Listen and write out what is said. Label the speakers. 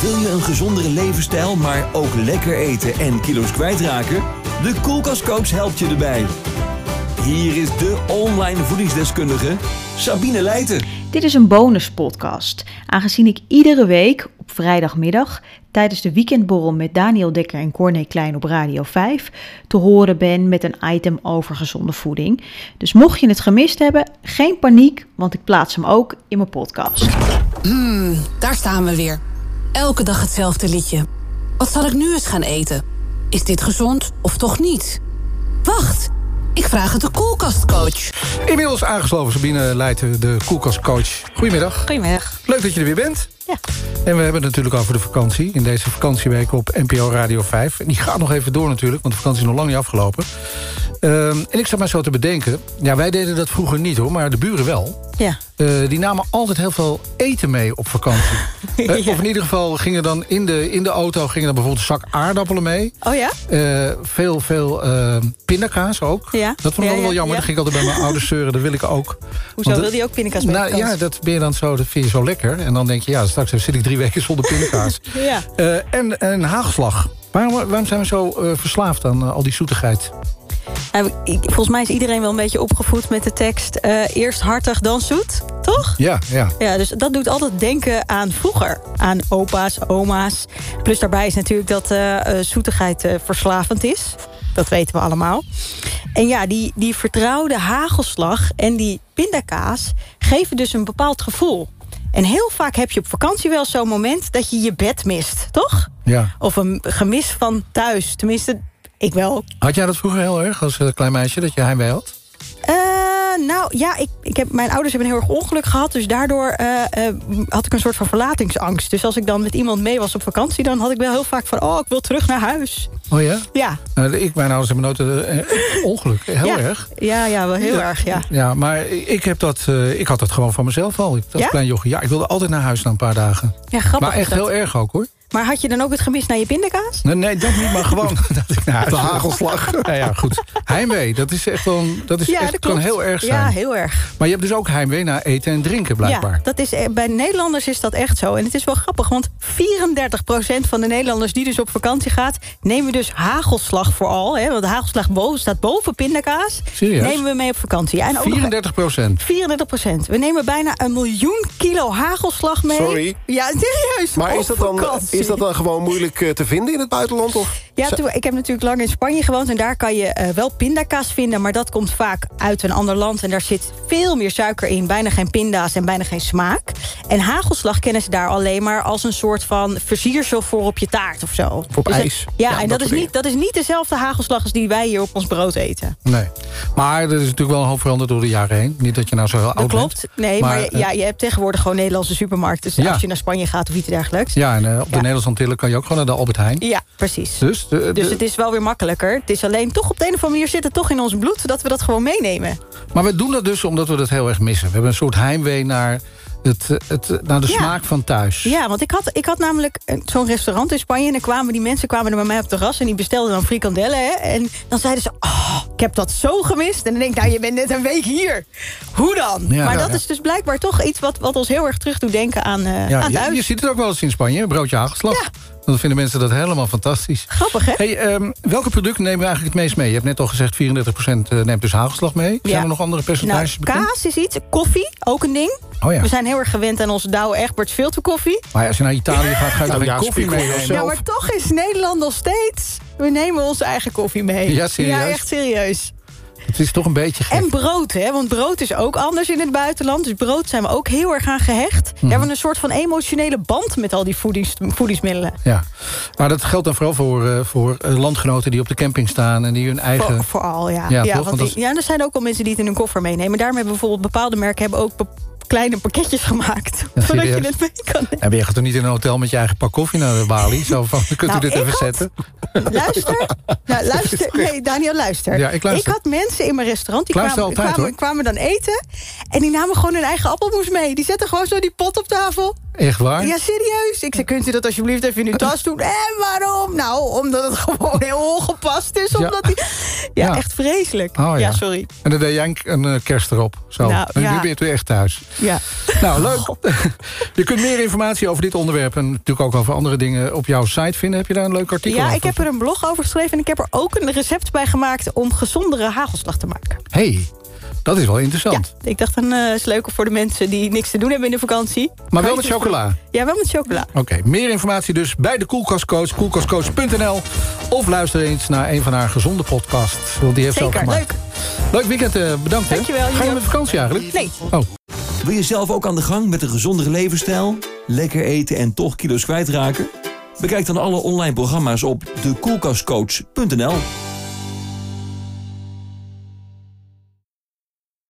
Speaker 1: Wil je een gezondere levensstijl, maar ook lekker eten en kilo's kwijtraken? De Koelkastcoach helpt je erbij. Hier is de online voedingsdeskundige Sabine Leijten.
Speaker 2: Dit is een bonuspodcast, aangezien ik iedere week op vrijdagmiddag tijdens de weekendborrel met Daniel Dekker en Corné Klein op Radio 5 te horen ben met een item over gezonde voeding. Dus mocht je het gemist hebben, geen paniek, want ik plaats hem ook in mijn podcast.
Speaker 3: Mmm, daar staan we weer. Elke dag hetzelfde liedje. Wat zal ik nu eens gaan eten? Is dit gezond of toch niet? Wacht, ik vraag het de koelkastcoach.
Speaker 4: Inmiddels aangesloten Sabine Leijten, de koelkastcoach. Goedemiddag.
Speaker 3: Goedemiddag.
Speaker 4: Leuk dat je er weer bent.
Speaker 2: Ja.
Speaker 4: En we hebben het natuurlijk over de vakantie. In deze vakantieweek op NPO Radio 5. En die gaat nog even door natuurlijk, want de vakantie is nog lang niet afgelopen. Ehm, en ik zat mij zo te bedenken. Ja, wij deden dat vroeger niet hoor, maar de buren wel.
Speaker 3: Ja.
Speaker 4: Eh, die namen altijd heel veel eten mee op vakantie. Eh, Of in ieder geval gingen dan in de, in de auto gingen dan bijvoorbeeld een zak aardappelen mee.
Speaker 3: Oh ja?
Speaker 4: Eh, veel, veel eh, pindakaas ook.
Speaker 3: Ja.
Speaker 4: Dat vond ik
Speaker 3: Ja,
Speaker 4: altijd wel
Speaker 3: ja,
Speaker 4: jammer.
Speaker 3: ja.
Speaker 4: Dat ging ik altijd bij mijn ouders zeuren. Dat wil ik ook.
Speaker 3: Hoezo?
Speaker 4: Want dat-
Speaker 3: Wil die ook pindakaas bij
Speaker 4: Nou
Speaker 3: de kant?
Speaker 4: ja, dat ben je dan zo, dat vind je zo lekker. En dan denk je, ja, straks zit ik drie weken zonder pindakaas.
Speaker 3: Ja.
Speaker 4: Eh, en, en haagslag. Waarom, waarom zijn we zo eh, verslaafd aan eh, al die zoetigheid?
Speaker 3: Nou, ik- Volgens mij is iedereen wel een beetje opgevoed met de tekst... eh, eerst hartig, dan zoet, toch?
Speaker 4: Ja, ja.
Speaker 3: Ja, dus dat doet altijd denken aan vroeger. Aan opa's, oma's. Plus daarbij is natuurlijk dat eh, eh, zoetigheid eh, verslavend is. Dat weten we allemaal. En ja, die, die vertrouwde hagelslag en die pindakaas... geven dus een bepaald gevoel. En heel vaak heb je op vakantie wel zo'n moment... dat je je bed mist, toch?
Speaker 4: ja.
Speaker 3: Of een gemis van thuis. Tenminste, ik wel.
Speaker 4: Had jij dat vroeger heel erg als eh, klein meisje, dat je heimwee had?
Speaker 3: Eh, nou ja, ik, ik heb, mijn ouders hebben een heel erg ongeluk gehad. Dus daardoor eh, eh, had ik een soort van verlatingsangst. Dus als ik dan met iemand mee was op vakantie... dan had ik wel heel vaak van, oh, ik wil terug naar huis.
Speaker 4: Oh ja?
Speaker 3: Ja,
Speaker 4: Nou, ik, mijn ouders hebben nooit eh, eh, ongeluk. Heel
Speaker 3: ja.
Speaker 4: erg.
Speaker 3: Ja, ja wel heel erg, ja.
Speaker 4: Ja, maar ik, heb dat, eh, ik had dat gewoon van mezelf al. Ik, als
Speaker 3: Ja?
Speaker 4: klein jochie. Ja, ik wilde altijd naar huis na een paar dagen.
Speaker 3: Ja, grappig.
Speaker 4: Maar echt heel erg ook, hoor.
Speaker 3: Maar had je dan ook het gemis naar je pindakaas?
Speaker 4: Nee, nee dat niet, maar gewoon dat ik naar huis De hagelslag. Nou ja, goed. Heimwee, dat is echt wel... een- Dat, is Dus echt,
Speaker 3: dat
Speaker 4: kan
Speaker 3: klopt.
Speaker 4: heel erg zijn.
Speaker 3: Ja, heel erg.
Speaker 4: Maar je hebt dus ook heimwee naar eten en drinken,
Speaker 3: Ja,
Speaker 4: blijkbaar.
Speaker 3: dat is, eh, bij Nederlanders is dat echt zo. En het is wel grappig, want 34% van de Nederlanders die dus op vakantie gaat... nemen dus hagelslag vooral. Hè, want hagelslag boven, staat boven pindakaas.
Speaker 4: Serieus?
Speaker 3: Nemen we mee op vakantie. Ja, en ook nog-
Speaker 4: 34 procent.
Speaker 3: 34 procent. We nemen bijna een miljoen kilo hagelslag mee.
Speaker 5: Sorry.
Speaker 3: Ja, serieus.
Speaker 5: Maar
Speaker 3: op
Speaker 5: is dat, dan,
Speaker 3: vakantie.
Speaker 5: is dat dan gewoon moeilijk eh, te vinden in het buitenland? Of?
Speaker 3: Ja, toen- ik heb natuurlijk lang in Spanje gewoond en daar kan je eh, wel pindakaas vinden, maar dat komt vaak uit een ander land en daar zit veel meer suiker in, bijna geen pinda's en bijna geen smaak. En hagelslag kennen ze daar alleen maar als een soort van versiersel voor op je taart of zo. Dus
Speaker 5: op
Speaker 3: dat-
Speaker 5: ijs.
Speaker 3: Ja,
Speaker 5: Ja,
Speaker 3: en
Speaker 5: dat
Speaker 3: dat,
Speaker 5: soort
Speaker 3: is
Speaker 5: dingen.
Speaker 3: niet, dat is niet dezelfde hagelslag als die wij hier op ons brood eten.
Speaker 4: Nee. Maar er is natuurlijk wel een hoop veranderd door de jaren heen. Niet dat je nou zo heel
Speaker 3: Dat
Speaker 4: oud bent.
Speaker 3: klopt. Nee, maar, je-
Speaker 4: eh,
Speaker 3: ja, je hebt tegenwoordig gewoon Nederlandse supermarkten. Dus
Speaker 4: Ja.
Speaker 3: als je naar Spanje gaat of iets dergelijks.
Speaker 4: ja, en eh, op de
Speaker 3: Ja.
Speaker 4: Nederlandse Antillen kan je ook gewoon naar de Albert Heijn.
Speaker 3: Ja, precies.
Speaker 4: Dus, de- de-
Speaker 3: Dus het is wel weer makkelijker. Het is alleen toch op de een of andere manier zit het toch in ons bloed... dat we dat gewoon meenemen.
Speaker 4: Maar we doen dat dus omdat we dat heel erg missen. We hebben een soort heimwee naar, het, eh, het, eh, naar de
Speaker 3: Ja.
Speaker 4: smaak van thuis.
Speaker 3: Ja, want ik had, ik had namelijk eh, zo'n restaurant in Spanje... en dan kwamen die mensen kwamen er bij mij op het terras... en die bestelden dan frikandellen. Hè, en dan zeiden ze, oh, ik heb dat zo gemist. En dan denk ik, nou, je bent net een week hier. Hoe dan?
Speaker 4: Ja,
Speaker 3: maar
Speaker 4: ja,
Speaker 3: dat
Speaker 4: ja.
Speaker 3: is dus blijkbaar toch iets... wat, wat ons heel erg terug doet denken aan, eh
Speaker 4: Ja,
Speaker 3: aan
Speaker 4: je,
Speaker 3: thuis.
Speaker 4: je ziet het ook wel eens in Spanje, een broodje hagelslag.
Speaker 3: Ja.
Speaker 4: Dan vinden mensen dat helemaal fantastisch.
Speaker 3: Grappig, hè?
Speaker 4: Hey, ehm, welke producten nemen we eigenlijk het meest mee? Je hebt net al gezegd, 34% neemt dus hagelslag mee. Zijn
Speaker 3: Ja.
Speaker 4: er nog andere
Speaker 3: Nou,
Speaker 4: percentages bekend?
Speaker 3: kaas is iets. Koffie, ook een ding.
Speaker 4: Oh ja.
Speaker 3: We zijn heel erg gewend aan onze Douwe Egberts filterkoffie.
Speaker 4: Maar ja, als je naar Italië gaat, ga je toch
Speaker 5: Nou
Speaker 4: geen
Speaker 5: ja,
Speaker 4: koffie
Speaker 5: spiegel
Speaker 4: meenemen?
Speaker 3: Ja,
Speaker 5: zelf.
Speaker 3: maar toch is Nederland nog steeds... We nemen onze eigen koffie mee.
Speaker 4: Ja, serieus?
Speaker 3: Ja, echt serieus.
Speaker 4: Het is toch een beetje gek.
Speaker 3: En brood, hè? Want brood is ook anders in het buitenland. Dus brood zijn we ook heel erg aan gehecht.
Speaker 4: Mhm.
Speaker 3: We hebben een soort van emotionele band met al die voedings, voedingsmiddelen.
Speaker 4: Ja. Maar dat geldt dan vooral voor, eh, voor eh, landgenoten die op de camping staan... en die hun eigen...
Speaker 3: Voor, vooral, ja.
Speaker 4: Ja, toch?
Speaker 3: want
Speaker 4: Want dat is-
Speaker 3: die- ja, er zijn ook wel mensen die het in hun koffer meenemen. Daarom hebben bijvoorbeeld bepaalde merken hebben ook be- kleine pakketjes gemaakt. zodat je
Speaker 4: serieus?
Speaker 3: het mee kan nemen.
Speaker 4: En ben je gaat toch niet in een hotel met je eigen pak koffie naar de balie? Zo van, kunt
Speaker 3: Nou,
Speaker 4: u dit
Speaker 3: ik
Speaker 4: even
Speaker 3: had-
Speaker 4: zetten?
Speaker 3: Luister. Nou, luister. Nee, Daniel, luister.
Speaker 4: Ja, ik luister.
Speaker 3: had mensen in mijn restaurant, die
Speaker 4: Luister
Speaker 3: kwamen,
Speaker 4: altijd,
Speaker 3: kwamen, kwamen dan eten... en die namen gewoon hun eigen appelmoes mee. Die zetten gewoon zo die pot op tafel.
Speaker 4: Echt waar?
Speaker 3: Ja, serieus. Ik zei, kunt u dat alsjeblieft even in uw tas doen? En waarom? Nou, omdat het gewoon heel ongepast is.
Speaker 4: Ja.
Speaker 3: Omdat die... ja,
Speaker 4: Ja.
Speaker 3: echt vreselijk.
Speaker 4: Oh, ja.
Speaker 3: ja, sorry.
Speaker 4: En dan deed jij een, een eh, kerst erop. Zo.
Speaker 3: Nou,
Speaker 4: En Nu
Speaker 3: ja.
Speaker 4: ben je weer echt thuis.
Speaker 3: Ja.
Speaker 4: Nou, leuk. je kunt meer informatie over dit onderwerp... en natuurlijk ook over andere dingen op jouw site vinden. Heb je daar een leuk artikel
Speaker 3: Ja,
Speaker 4: over?
Speaker 3: ik heb er een blog over geschreven en ik heb er ook een recept bij gemaakt om gezondere hagelslag te maken.
Speaker 4: hey, dat is wel interessant.
Speaker 3: Ja, ik dacht een eh is leuker voor de mensen die niks te doen hebben in de vakantie.
Speaker 4: Maar wel
Speaker 3: Ga
Speaker 4: met
Speaker 3: iets-
Speaker 4: chocola.
Speaker 3: Ja, wel met chocola.
Speaker 4: Oké, meer informatie dus bij de Koelkastcoach, koelkastcoach.nl... of luister eens naar een van haar gezonde podcasts. Want die heeft ze ook
Speaker 3: Zeker,
Speaker 4: gemaakt.
Speaker 3: leuk.
Speaker 4: Leuk weekend, eh, bedankt. hè.
Speaker 3: Dankjewel,
Speaker 4: Ga je
Speaker 3: jullie
Speaker 4: met
Speaker 3: ook.
Speaker 4: vakantie eigenlijk?
Speaker 3: Nee.
Speaker 4: Oh,
Speaker 1: Wil je zelf ook aan de gang met een gezondere levensstijl? Lekker eten en toch kilo's kwijtraken? Bekijk dan alle online programma's op dekoelkastcoach.nl.